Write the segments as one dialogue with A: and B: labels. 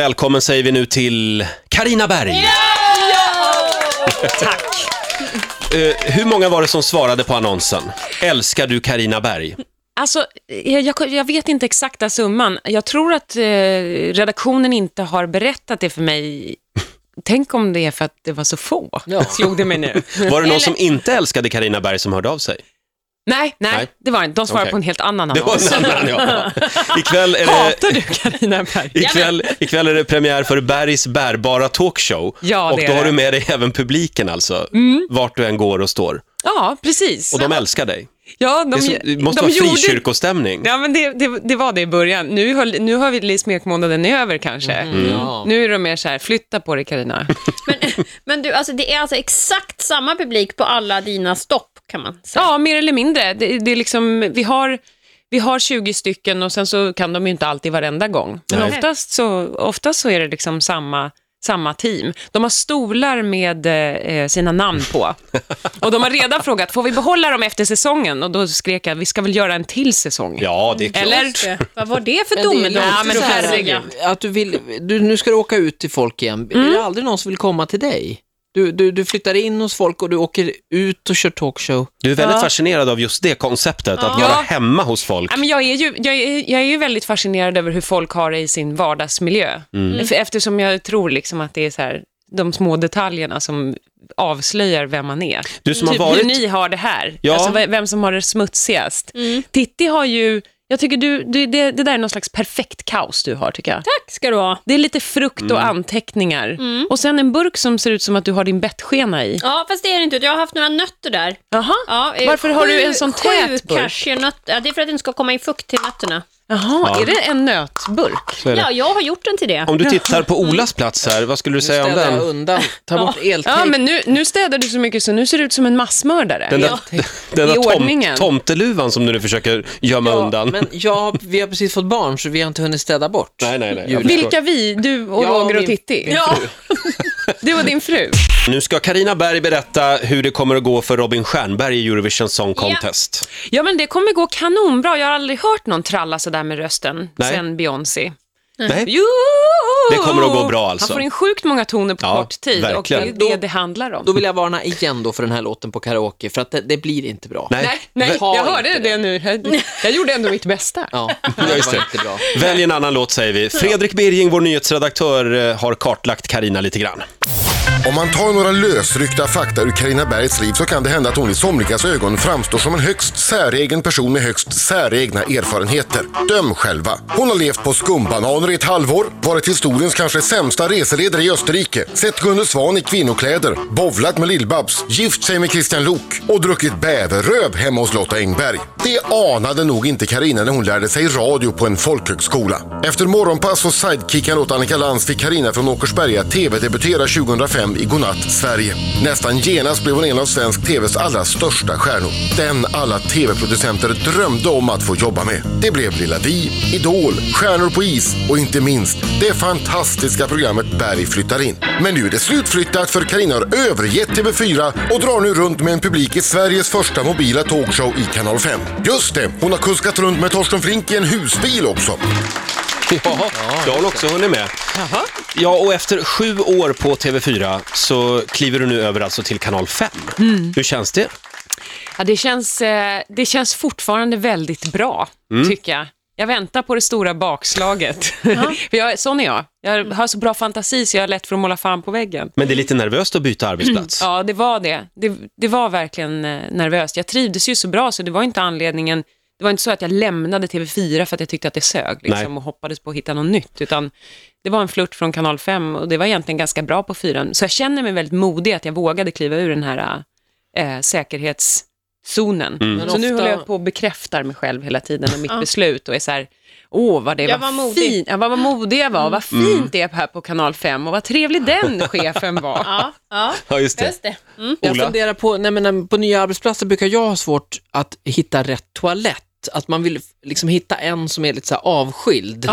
A: Välkommen säger vi nu till Karina Berg. Tack. Eh, hur många var det som svarade på annonsen? Älskar du Karina Berg?
B: Alltså, eh, jag, jag vet inte exakta summan. Jag tror att eh, redaktionen inte har berättat det för mig. Tänk om det är för att det var så få, slog det mig nu.
A: Var det någon
B: Eller-
A: som inte älskade Karina Berg som hörde av sig?
B: Nej, nej,
A: Nej.
B: det var det inte. De svarade
A: Okej.
B: på en helt annan
A: Det var
B: annons.
A: en annan, ja. Ikväll är det...
B: Hatar du Carina Berg?
A: Ikväll, ikväll är det premiär för Bergs bärbara talkshow.
B: Ja, det
A: och
B: är
A: då har
B: det. Mm.
A: du med dig även publiken alltså, vart du än går och står.
B: Ja, precis.
A: Och de älskar dig.
B: ja,
A: Det
B: de,
A: är som, det måste
B: de
A: vara
B: gjorde-
A: frikyrkostämning.
B: Ja, men det, det, det var det i början. Nu, höll, nu har vi smekmånaden över kanske.
A: Mm.
B: Nu är de mer så här, flytta på dig Carina.
C: Men du, alltså, det är alltså exakt samma publik på alla dina stopp kan man säga.
B: Ja, mer eller mindre. Det, det är liksom, vi, har, vi har 20 stycken och sen så kan de ju inte alltid varenda gång. Men
A: Nej.
B: oftast så, oftast så är det liksom samma, samma team. De har stolar med eh, sina namn på. Och de har redan frågat, får vi behålla dem efter säsongen? Och då skrek jag, vi ska väl göra en till säsong.
A: Ja, det är klart.
B: Eller?
C: Just det. Vad var det för
D: Men det är ju
C: domedom?
D: alltid
B: Ja, men
D: så här,
B: herregud.
D: att du vill, du, nu ska du åka ut till folk igen. Är
B: Mm.
D: det aldrig någon som vill komma till dig? Du, du, du flyttar in hos folk och du åker ut och kör talkshow.
A: Du är väldigt fascinerad av just det konceptet, att
B: Ja.
A: vara hemma hos folk.
B: Ja, men jag, är ju, jag, är, jag är ju väldigt fascinerad över hur folk har det i sin vardagsmiljö.
A: Mm.
B: För- Eftersom jag tror liksom att det är så här, de små detaljerna som avslöjar vem man är.
A: Du som har
B: typ
A: varit-
B: hur ni har det här.
A: Ja.
B: Alltså ve- vem som har det smutsigast. Titti har ju... Jag tycker du, du det, det där är någon slags perfekt kaos du har, tycker jag.
C: Tack ska du ha.
B: Det är lite frukt och anteckningar. Och sen en burk som ser ut som att du har din bettskena i.
C: Ja, fast det är det inte. Jag har haft några nötter där.
B: Jaha.
C: Ja, eh,
B: Varför har
C: sju-
B: du en sån tät
C: Sju
B: burk?
C: cashewnötter. Ja, det är för att den ska komma in fukt till nötterna.
B: Jaha, är det en nötburk?
A: Så är det.
C: Ja, jag har gjort den till det.
A: Om du tittar på Olas plats här, vad skulle du säga om
D: Städa
A: den?
D: undan, ta bort eltejp.
B: Ja, men nu, nu städar du så mycket så nu ser du ut som en massmördare.
A: Den där, den
B: I
A: där tom,
B: ordningen.
A: tomteluvan som du nu försöker gömma undan.
D: men jag, vi har precis fått barn så vi har inte hunnit städa bort.
A: Nej, nej, nej.
D: Julia.
A: Jag förstår.
B: Vilka vi? Du och
D: Ja,
B: Roger och
D: min-
B: Titti?
D: min
B: ja. Du och din fru?
A: Nu ska Karina Berg berätta hur det kommer att gå för Robin Stjernberg i Eurovision Song Contest.
B: Ja, men det kommer gå kanonbra. Jag har aldrig hört någon tralla sådär med rösten
A: Nej.
B: sen Beyoncé.
A: Nej?
B: Mm. Jo!
A: Det kommer att gå bra alltså.
B: Han får in sjukt många toner på
A: Ja,
B: kort tid
A: verkligen.
B: och det är det det handlar om.
D: Då vill jag varna igen då för den här låten på karaoke, för att det, det blir inte bra.
B: Nej,
A: Nej.
B: nej,
D: Ta
B: jag hörde
D: inte
B: det nu. Jag, jag gjorde ändå mitt bästa.
D: Ja,
A: Ja,
D: det
A: just
D: var
A: det.
D: inte bra.
A: Välj en annan låt säger vi. Fredrik Birging, vår nyhetsredaktör, eh, har kartlagt Karina lite grann.
E: Om man tar några lösryckta fakta ur Carina Bergs liv så kan det hända att hon i somligas ögon framstår som en högst säregen person med högst säregna erfarenheter. Döm själva. Hon har levt på skumbananer i ett halvår, varit historiens kanske sämsta reseledare i Österrike, sett Gunde Svan i kvinnokläder, bovlat med Lill-Babs, gift sig med Christian Lok och druckit bäverröv hemma hos Lotta Engberg. Det anade nog inte Karina när hon lärde sig radio på en folkhögskola. Efter morgonpass och sidekickan åt Annika Lantz fick Karina från Åkersberga TV-debutera 2005 i Godnatt Sverige. Nästan genast blev hon en av svensk TVs allra största stjärnor. Den alla TV-producenter drömde om att få jobba med. Det blev Lilla Vi, Idol, Stjärnor på is och inte minst det fantastiska programmet Berg flyttar in. Men nu är det slutflyttat för Karina har övergett TV4 och drar nu runt med en publik i Sveriges första mobila talkshow i Kanal 5. Just det, hon har kuskat runt med Torsten Flink i en husbil också.
A: Ja, då har hon också hunnit med. Ja, och efter sju år på TV4 så kliver du nu över alltså till Kanal 5.
B: Mm.
A: Hur känns det?
B: Ja, det, känns, eh, det känns fortfarande väldigt bra,
A: Mm.
B: tycker jag. Jag väntar på det stora bakslaget. För jag, sån är jag. Jag har så bra fantasi så jag har lätt för att måla fan på väggen.
A: Men det är lite nervöst att byta arbetsplats.
B: Ja, det var det. det. Det var verkligen eh, nervöst. Jag trivdes ju så bra, så det var inte anledningen. Det var inte så att jag lämnade TV4 för att jag tyckte att det sög
A: Nej.
B: liksom, och hoppades på att hitta något nytt, utan det var en flört från Kanal 5 och det var egentligen ganska bra på fyran. Så jag känner mig väldigt modig att jag vågade kliva ur den här eh, säkerhetszonen.
D: Men
B: Så nu
D: ofta-
B: håller jag på och bekräftar mig själv hela tiden och mitt beslut och är så här, åh vad det
C: Jag var
B: var
C: modig."
B: fint, ja, vad, vad modig jag var, och vad fint det är här på Kanal 5 och vad trevlig den chefen var.
C: Ja, ja.
A: Ja, just det.
C: Just det. Mm.
D: Jag
A: Ola?
D: funderar på, nej men eh, på nya arbetsplatser brukar jag ha svårt att hitta rätt toalett. Att man vill Mm. liksom hitta en som är lite så här avskild.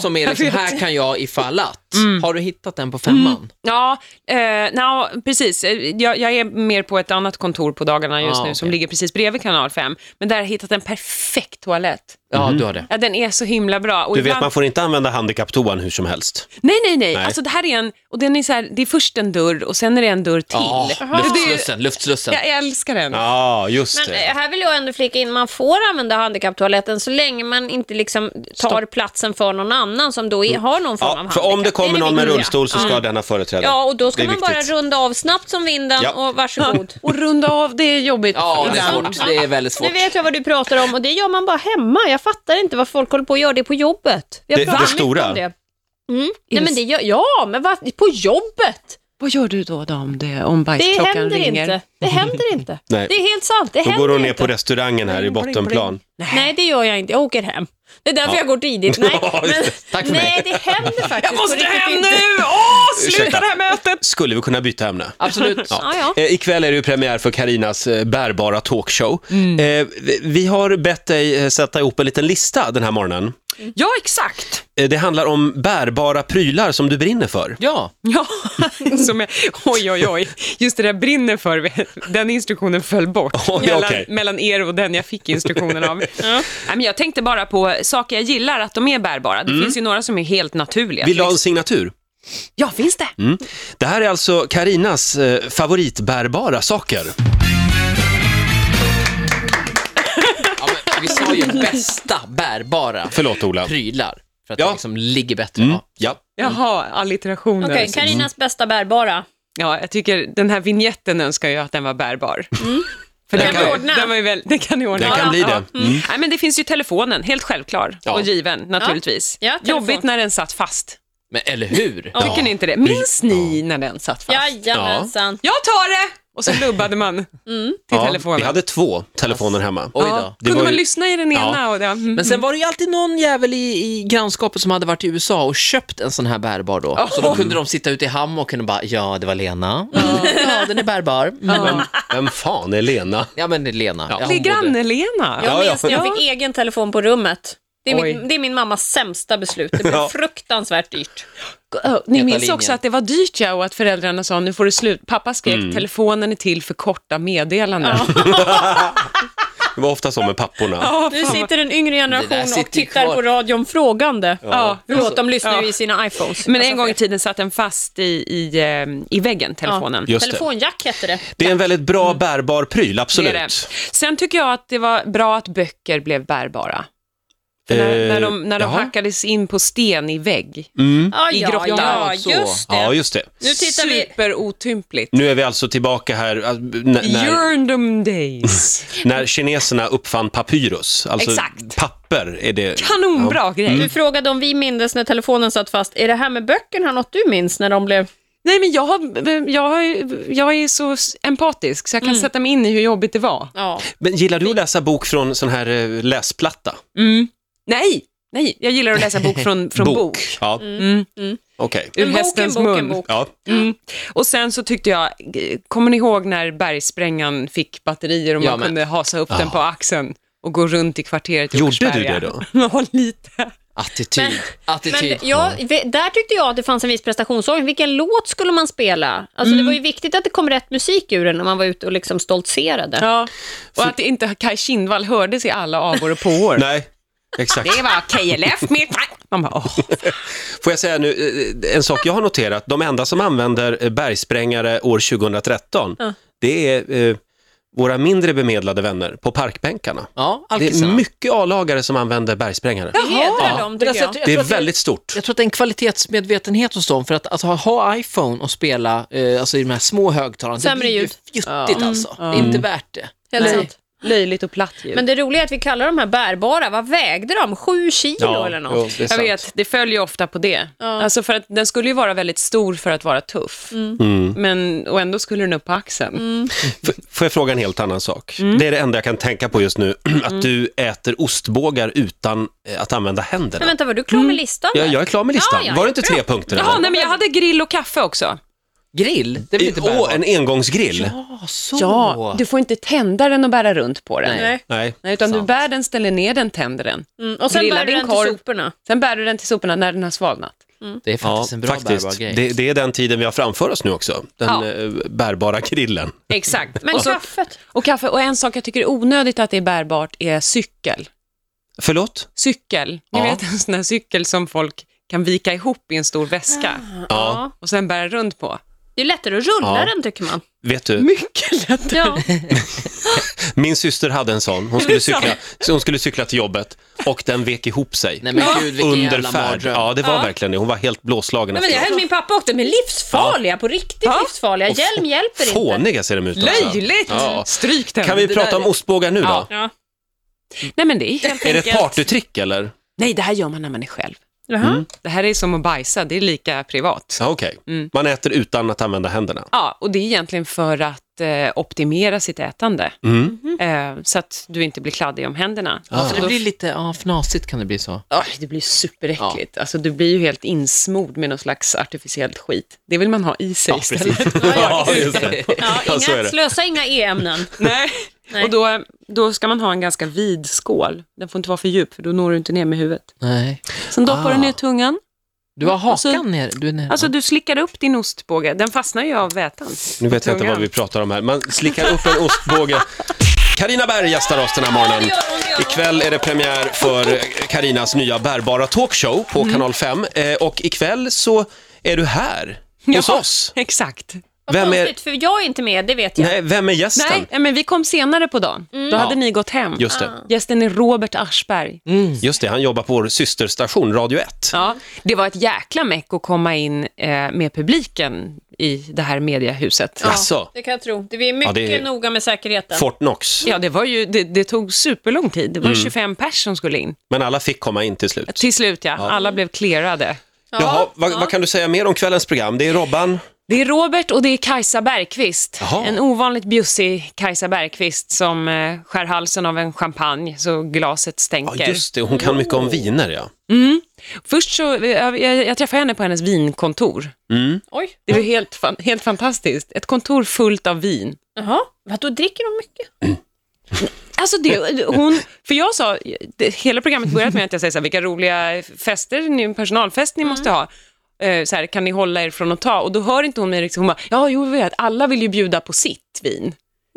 D: Som är liksom, här kan jag ifall att. rätt. Har du hittat den på femman?
B: Ja, eh, no, precis. Eh, Jag, jag är mer på ett annat kontor på dagarna just
D: Ah,
B: nu som
D: okej.
B: ligger precis bredvid kanal 5. Men där har jag hittat en perfekt toalett.
D: Ja, du har det.
B: Ja, den är så himla bra. Och
A: Du vet,
B: ibland-
A: man får inte använda handikapptoan hur som helst.
B: Nej, nej, nej.
A: Nej.
B: Alltså, det här är en... Och den är så här, det är först en dörr och sen är det en dörr till.
D: Ja, luftslussen, luftslussen.
B: Jag älskar den.
A: Ja, just
C: Men
A: det.
C: eh, här vill jag ändå flika in, man får använda handikapptoaletten så länge man inte liksom tar platsen för någon annan som då är, har någon form av
A: Mm. Ja, för
C: handikapp.
A: om det kommer
C: är
A: någon med
C: viktiga. Mm.
A: rullstol så ska den ha företräde.
C: Ja, och då ska
A: Det är
C: man bara
A: viktigt.
C: runda av snabbt som vinden
A: Ja.
C: och varsågod.
B: Och runda av, det är jobbigt
D: Ja, det är
B: ibland.
D: svårt. Det är väldigt
C: Nu
D: svårt.
C: vet jag vad du pratar om och det gör man bara hemma. Jag fattar inte vad folk håller på och gör det på jobbet. Jag
A: Det- det stora?
C: om det. Mm. Nej, men det gör, ja, men vad, på jobbet!
B: Vad gör du då, då om, det, om
C: Det
B: bajsklockan
C: händer
B: ringer?
C: inte. Det händer inte.
A: Nej.
C: Det är helt sant. Det
A: Då
C: händer Mm,
A: går hon ner
C: inte.
A: på restaurangen här i bottenplan.
C: Nej, det gör jag inte. Jag åker hem. Det är därför jag går tidigt. Nej,
A: Ja, just
C: men,
A: det.
D: Tack för mig.
C: nej det händer faktiskt
B: Jag måste
C: på riktigt
B: hem
C: inte.
B: nu! Åh, sluta
A: Ursäkta.
B: det här mötet!
A: Skulle vi kunna byta ämne?
D: Absolut.
C: Ja, ja.
A: Eh, ikväll är det ju premiär för Karinas eh, bärbara talkshow.
C: Mm.
A: Eh, vi- vi har bett dig eh, sätta ihop en liten lista den här morgonen.
B: Ja, exakt.
A: Eh, det handlar om bärbara prylar som du brinner för.
D: Ja,
B: Ja, som jag, oj, oj, oj. Just det där brinner för, den instruktionen föll bort
A: Oj,
B: mellan,
A: okej.
B: mellan er och den jag fick instruktionen av. Nej, men jag tänkte bara på saker jag gillar, att de är bärbara. Det finns ju några som är helt naturliga.
A: Mm. Vill du ha Mm. en signatur?
B: Ja, finns det?
A: Det här är alltså Karinas eh, favoritbärbara saker.
D: ja men vi sa ju bästa bärbara
A: Förlåt Ola.
D: prylar. För att
A: Ja.
D: det liksom ligger bättre.
A: Mm,
D: Ja.
A: ja.
B: Jaha, alliterationer.
C: Okej, Karinas
A: Mm.
C: bästa bärbara.
B: Ja, jag tycker den här vignetten önskar jag att den var bärbar. För
C: Den
B: Mm. den,
C: kan
B: var-
C: ordna.
B: Den, var ju väl, den kan ni ordna.
A: Den kan
B: Ja,
A: bli
B: ja.
A: det.
B: Mm. Nej, men det finns ju telefonen, helt självklar
D: Ja.
B: och given naturligtvis.
C: Ja, telefon.
B: Jobbigt när den satt fast.
D: Men eller hur?
B: Tycker ni inte det? Minns ni när den satt fast?
C: Jajamensan.
B: Jag tar det! Och så lubbade man till
A: ja.
B: telefonen.
A: Vi hade två telefoner hemma.
D: Oj
B: ja.
D: då.
A: Det
B: Kunde
A: var
B: man
A: ju-
B: lyssna i den
A: Ja.
B: ena? Och det, mm.
D: Men sen var det ju alltid någon jävel i, i grannskapet som hade varit i USA och köpt en sån här bärbar då. Så då kunde de sitta ute i hammocken och bara, ja det var Lena. Mm. Ja, den är bärbar. Mm.
A: Vem, vem fan är Lena?
D: Ja men det är Lena. Ja. hon
B: det är
D: bodde-
B: granne-Lena.
A: Ja.
C: Jag minns när jag
B: Ja.
C: fick egen telefon på rummet. Det är,
B: Oj.
C: min, det är min mammas sämsta beslut. Det blev
A: Ja.
C: fruktansvärt dyrt.
B: Ö, Ni
D: Heta
B: minns
D: linjen.
B: också att det var dyrt ja, och att föräldrarna sa nu får det slut. Pappa skrek
A: Mm.
B: telefonen är till för korta meddelanden.
A: Det var ofta så med papporna.
B: Ja,
C: Nu
B: fan.
C: sitter en yngre
D: Det där
C: generation
D: sitter
C: och tittar
D: kvar.
C: på radion frågande.
B: Ja.
C: Förlåt, de lyssnar ju
B: Ja.
C: i sina iPhones.
B: Men en gång i tiden satt den fast i, i, eh, i väggen, telefonen.
A: Just det.
C: Telefonjack hette det.
A: Det är en väldigt bra bärbar pryl,
B: Det
A: absolut.
B: är det. Sen tycker jag att det var bra att böcker blev bärbara. För när,
A: Eh,
B: när de, när de
A: jaha. Mm.
B: hackades in på sten i vägg.
C: Ah,
B: I
C: ja,
B: grottan.
C: ja,
D: Så.
C: just det.
A: Ja, just det.
C: Nu tittar vi.
B: Superotympligt.
A: Nu är vi alltså tillbaka här äh, n- när,
B: Yearndom days.
A: när kineserna uppfann papyrus. Alltså
B: Exakt.
A: papper är det.
B: Kanonbra
A: Mm.
B: grej.
C: Du frågade om vi mindes när telefonen satt fast. Är det här med böckerna något du minns när de blev...
B: Nej, men jag, har, jag, har- jag är så empatisk så jag kan sätta mig in i hur jobbigt det var.
C: Ja.
A: Men gillar du att läsa bok från sån här eh, läsplatta?
B: Nej, nej, jag gillar att läsa bok från, från bok. Mm.
A: Ja, okej.
B: Ur
C: En bok, en
B: hästens
C: bok, en
B: mun.
C: bok.
A: Ja.
B: Mm. Och sen så tyckte jag, g- kommer ni ihåg när bergsprängan fick batterier och man
D: Ja, men-
B: kunde hasa upp den på axeln och gå runt i kvarteret i
A: Gjorde du
B: Åkersberga?
A: det då?
B: ja, lite.
D: Attityd.
C: Men
D: Attityd.
C: det- ja, vi- där tyckte jag att det fanns en viss prestationsångest. Vilken låt skulle man spela? Alltså, Det var ju viktigt att det kom rätt musik ur den när man var ute och liksom stoltserade.
B: Ja. Och att inte Kaj Kindvall hördes i alla avor och påor.
A: Nej, exakt.
B: Det var KLF mitt... Man bara, åh.
A: Får jag säga nu eh, en sak jag har noterat. De enda som använder eh, bergsprängare år 2013, det är eh, våra mindre bemedlade vänner på parkbänkarna.
D: Ja,
A: Det
D: alkisarna.
A: är mycket A-lagare som använder bergsprängare.
C: Det hedrar
D: Ja.
C: dem, tycker
D: Alltså,
C: jag.
D: jag tror- jag
A: Det är
D: tror att
A: väldigt stort.
D: Jag tror att det är en kvalitetsmedvetenhet hos dem, för att, att ha, ha iPhone och spela eh, alltså i de här små högtalarna, det
C: Sämre
D: blir ju
C: ljud.
D: fjuttigt alltså. Det är inte värt det.
C: Helt
B: Nej.
C: sant.
B: Löjligt och platt ljud.
C: Men det roliga är att vi kallar de här bärbara, vad vägde de? Sju kilo eller något?
A: jo, det är
B: Jag
A: sant.
B: vet, det följer ju ofta på det. Alltså för att den skulle ju vara väldigt stor för att vara tuff. Mm. Men, och ändå skulle den upp på axeln.
A: F- Får jag fråga en helt annan sak? Det är det enda jag kan tänka på just nu, att du äter ostbågar utan eh, att använda händerna.
C: Men vänta, var du klar
B: Mm.
C: med listan?
A: Ja,
C: där?
A: jag är klar med listan.
C: Ja, ja,
A: Var det
C: ja,
A: inte
C: bra.
A: tre punkter?
B: Jaha, nej men jag hade grill och kaffe också.
D: Grill, det är väl inte
A: Åh,
D: bärbart?
A: en engångsgrill.
D: Ja, så.
B: Ja, du får inte tända den och bära runt på den.
D: Oh. Nej.
A: Nej.
B: Nej, utan du
D: Sant.
B: bär den, ställer ner den, tänder den.
C: Mm, och sen
B: Grilla
C: bär du
B: din
C: den till
B: korv.
C: soporna.
B: Sen bär du den till soporna när den har svalnat.
D: Det är faktiskt en bra bärbar grej.
A: Det, det är den tiden vi har framför oss nu också. Den
B: Ja.
A: eh, bärbara grillen.
B: Exakt.
C: Men
B: och, så,
C: kaffet?
B: och kaffe. Och en sak jag tycker är onödigt att det är bärbart är cykel.
A: Förlåt?
B: Cykel. Ni
A: Ja.
B: vet en sån här cykel som folk kan vika ihop i en stor väska
C: Ah. Ja.
B: och sen bära runt på.
C: Det är lättare att rulla
A: Ja.
C: den tycker man.
A: Vet du,
B: Mm. Mycket lätt.
C: Ja.
A: min syster hade en sån. Hon skulle cykla, hon skulle cykla till jobbet och den vek ihop sig.
D: Nej men gud vilken jävla
A: Under färd.
D: mardröm.
A: Ja, det var verkligen det. Hon var helt blåslagen
C: Nej, men jag
A: efteråt.
C: höll min pappa åkte med livsfarliga, på riktigt
B: Ja.
C: livsfarliga.
A: Och
C: Hjälm hjälper inte.
A: Fåniga ser de ut också.
B: Löjligt!
A: Ja.
B: Stryk den.
A: Kan vi
B: Det
A: prata
B: där-
A: om ostbågar nu då?
B: Ja.
C: Ja.
B: Nej, men det är helt
A: Är det ett
B: enkelt-
A: partytrick eller?
B: Nej, det här gör man när man är själv.
C: Jaha.
A: Mm.
B: Det här är som att bajsa, det är lika privat. Ja,
A: Ja, okej. Man äter utan att använda händerna.
B: och det är egentligen för att eh, optimera sitt ätande,
A: Mm. Ah.
B: eh, så att du inte blir kladdig om händerna.
A: Ja.
D: Så det blir lite, ja fnasigt kan det bli så.
B: Oj, det blir superäckligt. Alltså, du blir ju helt insmord med någon slags artificiellt skit. Det vill man ha i sig istället.
A: Ja, just det.
C: Ja,
A: Ja, så är
C: inga,
A: det.
C: slösa inga e-ämnen.
B: Nej.
C: Nej.
B: Och då, då ska man ha en ganska vid skål. Den får inte vara för djup, för då når du inte ner med huvudet.
D: Nej.
B: Sen doppar
A: Ah.
B: du ner tungan.
D: Du har hakan
B: Alltså-
D: ner. Du är ner.
B: Alltså, du slickar upp din ostbåge. Den fastnar ju av vätan.
A: Nu vet jag inte vad vi pratar om här. Man slickar upp en ostbåge. Karina Berg gästar oss den här morgonen. Ikväll är det premiär för Karinas nya bärbara talkshow på
B: Mm.
A: Kanal 5. Eh, och ikväll så är du här hos
B: Ja,
A: oss.
B: Exakt.
A: Vem är,
C: Konstigt, för jag är inte med, det vet jag.
A: nej, vem är gästen?
B: Nej, eh, men vi kom senare på dagen. Då hade
A: Mm. Ja.
B: ni gått hem. Ah.
A: Just det. Mm.
B: Gästen är Robert Aschberg.
A: Just det, han jobbar på vår systerstation Radio 1.
B: Ja, det var ett jäkla meck att komma in eh, med publiken i det här mediehuset.
A: Ja. Jaså?
C: det kan jag tro. Det är mycket
A: alltså. det är-
C: noga med säkerheten.
A: Fortnox.
B: Ja, det, var ju, det, det tog superlång tid.
A: Mm.
B: Det var 25 pers som skulle in.
A: Men alla fick komma in till slut.
B: Till slut, ja. Alla blev clearade.
A: Jaha, vad, vad kan du säga mer om kvällens program? Det är Robban.
B: Det är Robert och det är Kajsa Bergqvist.
A: Jaha.
B: En ovanligt bjussig Kajsa Bergqvist som eh, skär halsen av en champagne så glaset
A: Ja,
B: stänker.
A: just det. Hon kan mycket
B: Oh.
A: om viner, ja.
B: Mm. Först så, jag, jag, jag träffade henne på hennes vinkontor.
C: Oj.
B: Det var helt, fan- helt fantastiskt. Ett kontor fullt av vin.
C: Jaha, vadå dricker de mycket?
B: Alltså det, hon, för jag sa, det, hela programmet började med att jag säger så här, vilka roliga fester, ni, personalfest
A: Mm.
B: ni måste ha. Eh, Så här, kan ni hålla er från att ta? Och då hör inte hon mig riktigt. Hon bara, ja, jo, jag vet, alla vill ju bjuda på sitt vin.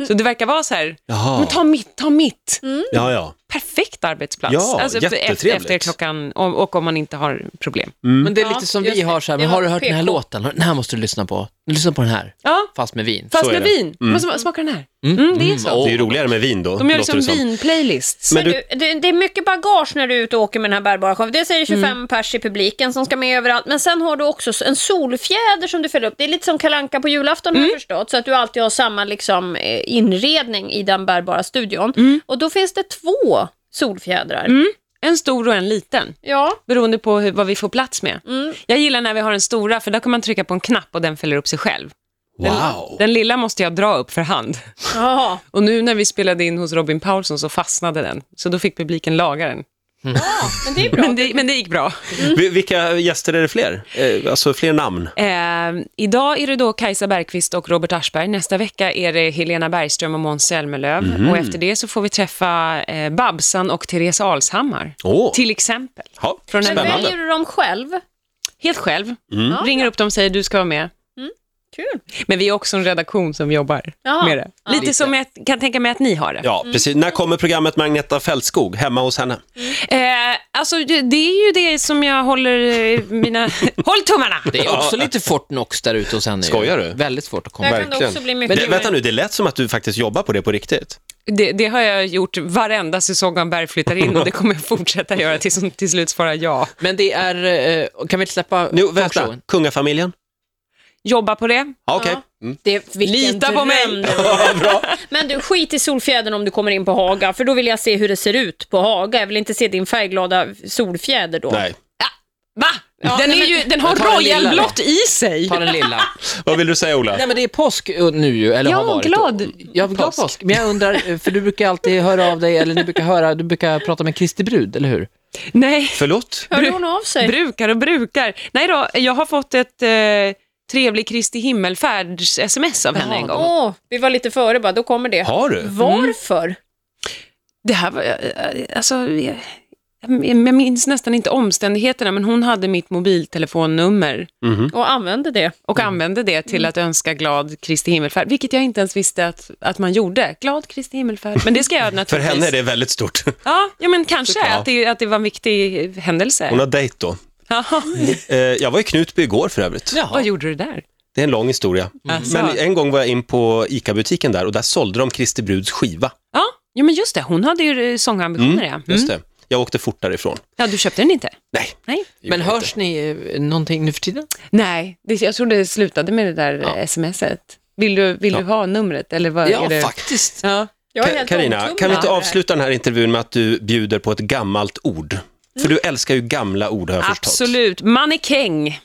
B: Så det verkar vara så här,
A: Mm. Jaha.
B: men ta mitt, ta mitt.
A: Ja, ja.
B: Perfekt arbetsplats. Alltså,
A: Ja,
B: efter- efter,
A: jättetrevligt. Mm.
B: efter klockan, och, och om man inte har problem.
D: Men det är
C: Ja,
D: lite som
C: just
D: vi
C: det.
D: har så här, men
C: Det
D: har
C: var
D: du hört den här
C: PK.
D: låten? Den här måste du lyssna på. Lyssna på den här,
B: Ja,
D: fast med vin.
B: fast
A: Så är
B: med
A: det.
B: vin. Mm. Smakar den här? Mm, det är så.
A: Det är ju roligare med vin då,
B: De gör
A: låter det
B: liksom
A: som.
B: vinplaylists.
A: Men
C: Men
A: du-
C: du, det, det är mycket bagage när du är ute och åker med den här bärbara showen. Dels är det 25 pers i publiken som ska med överallt, men sen har du också en solfjäder som du fäller upp. Det är lite som kalanka på julafton har jag förstått, så att du alltid har samma liksom, eh, inredning i den bärbara studion. Och då finns det två solfjädrar.
B: En stor och en liten.
C: Ja,
B: beroende på hur, vad vi får plats med. Jag gillar när vi har den stora, för där kan man trycka på en knapp och den fäller upp sig själv. Den,
A: Wow.
B: den lilla måste jag dra upp för hand.
C: Jaha.
B: Och nu när vi spelade in hos Robin Paulsson så fastnade den, så då fick publiken laga den.
C: men det är bra.
B: Men det, men det gick bra.
A: Vi- Vilka gäster är det fler? Eh, Alltså fler namn?
B: Eh, idag är det då Kajsa Bergqvist och Robert Aschberg. Nästa vecka är det Helena Bergström och Måns Zelmerlöw.
A: Mhm.
B: Och efter det så får vi träffa eh, Babsan och Therese Alshammar,
A: Åh.
B: till exempel.
A: Ja,
B: Från en
C: Men
A: spännande.
C: väljer du dem själv?
B: Helt själv.
A: Mm.
B: Ringer upp dem och säger du ska vara med.
C: Kul.
B: Men vi är också en redaktion som jobbar
C: Ja.
B: med det. Lite, som jag kan tänka mig att ni har det.
A: Ja,
C: Mm.
A: precis. När kommer programmet Magneta Fältskog hemma hos henne?
B: Eh, alltså, det, det är ju det som jag håller eh, mina... Håll tummarna!
D: Det är också lite Fortnox där ute hos henne. ju.
A: Skojar du?
D: Väldigt svårt att komma
C: Där
D: ihåg.
C: kan det också bli mycket
A: Men det, vänta nu, det lät som att du faktiskt jobbar på det på riktigt.
B: Det, det har jag gjort varenda säsong av Berg flyttar in och det kommer jag fortsätta göra tills hon till slut svarar ja.
D: Men det är, eh, kan vi inte släppa
A: Nu, vänta.
D: talkshowen?
A: Kungafamiljen?
B: Jobba på det.
A: Ja, okej. Mm.
C: Det, vilken
B: Lita på mig.
C: dröm det var. Men du, skit i solfjädern om du kommer in på Haga, för då vill jag se hur det ser ut på Haga. Jag vill inte se din färgglada solfjäder då.
A: Nej.
B: Va? den,
C: nej,
B: är
C: men-
B: ju, den har
D: ta den lilla
B: royalblått i sig.
D: Ta den lilla.
A: Vad vill du säga, Ola?
D: Nej men det är påsk eh, nu ju, eller
B: Ja,
D: har varit.
B: glad
D: Jag är glad
B: påsk.
D: påsk. Men jag undrar, eh, för du brukar alltid höra av dig, eller ni brukar höra, du brukar prata med Kristi brud, eller hur?
B: Nej,
A: Förlåt?
C: Hörde hon av sig?
B: brukar och brukar. Nej då, jag har fått ett eh, trevlig Kristi himmelfärds-sms av henne
D: Jaha.
B: en gång.
C: Åh, vi var lite före bara, då kommer det.
A: Har du?
C: Varför?
B: Det här var, eh, alltså, eh, jag minns nästan inte omständigheterna, men hon hade mitt mobiltelefonnummer
A: Mm.
C: Och använde det.
B: och använde det till att önska glad Kristi himmelfärd, vilket jag inte ens visste att, att man gjorde. Glad Kristi himmelfärd, men det ska jag
A: För
B: naturligtvis...
A: henne är det väldigt stort.
B: Ja, ja men kanske
A: Ja.
B: Att, det, att det var en viktig händelse.
A: Hon har dejt då.
B: Ja.
A: Eh, Jag var i Knutby igår för övrigt.
B: Vad
D: Jaha.
B: gjorde du där?
A: Det är en lång historia.
B: Alltså.
A: Men en gång var jag in på ICA-butiken där och där sålde de Kristi Bruds skiva.
B: Ja, jo, men just det, hon hade ju eh, sångambitioner. ja.
A: Just det. Jag åkte fort därifrån.
B: ja, du köpte den inte?
A: Nej.
B: Nej.
D: Men hörs ni eh, någonting nu för tiden?
B: Nej, det, jag tror det slutade med det där ja. smset. Vill du, vill du ha numret? Eller vad är det?
D: faktiskt.
B: Ja.
C: Jag är helt
A: Karina,
C: omtumlad
A: kan vi inte
C: av det här.
A: avsluta den här intervjun med att du bjuder på ett gammalt ord? För du älskar ju gamla ord har jag förstått.
B: Absolut. Mannekäng.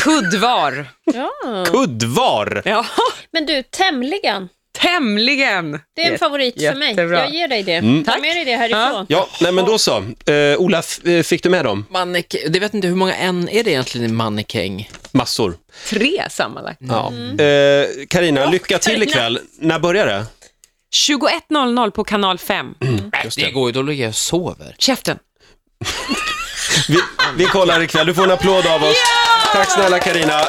B: Kuddvar.
C: Ja.
A: Kuddvar!
B: ja,
C: Men du, tämligen.
B: tämligen.
C: Det är en favorit för mig.
B: Jättebra.
C: Jag ger dig det. Ta med dig det härifrån.
A: Mm. Ja, nej men då så. Eh, Olaf, eh, fick du med dem?
D: Mannek, det vet inte hur många en är det egentligen i mannekäng?
A: Massor.
B: Tre sammanlagt.
A: Ja. Eh, Karina, lycka till ikväll. När börjar det?
B: 21.00 på kanal 5.
A: Just
D: Det
A: det.
D: går ju, då ligger jag och sover.
B: Käften.
A: Vi, vi kollar ikväll. Du får en applåd av oss. Tack snälla Karina.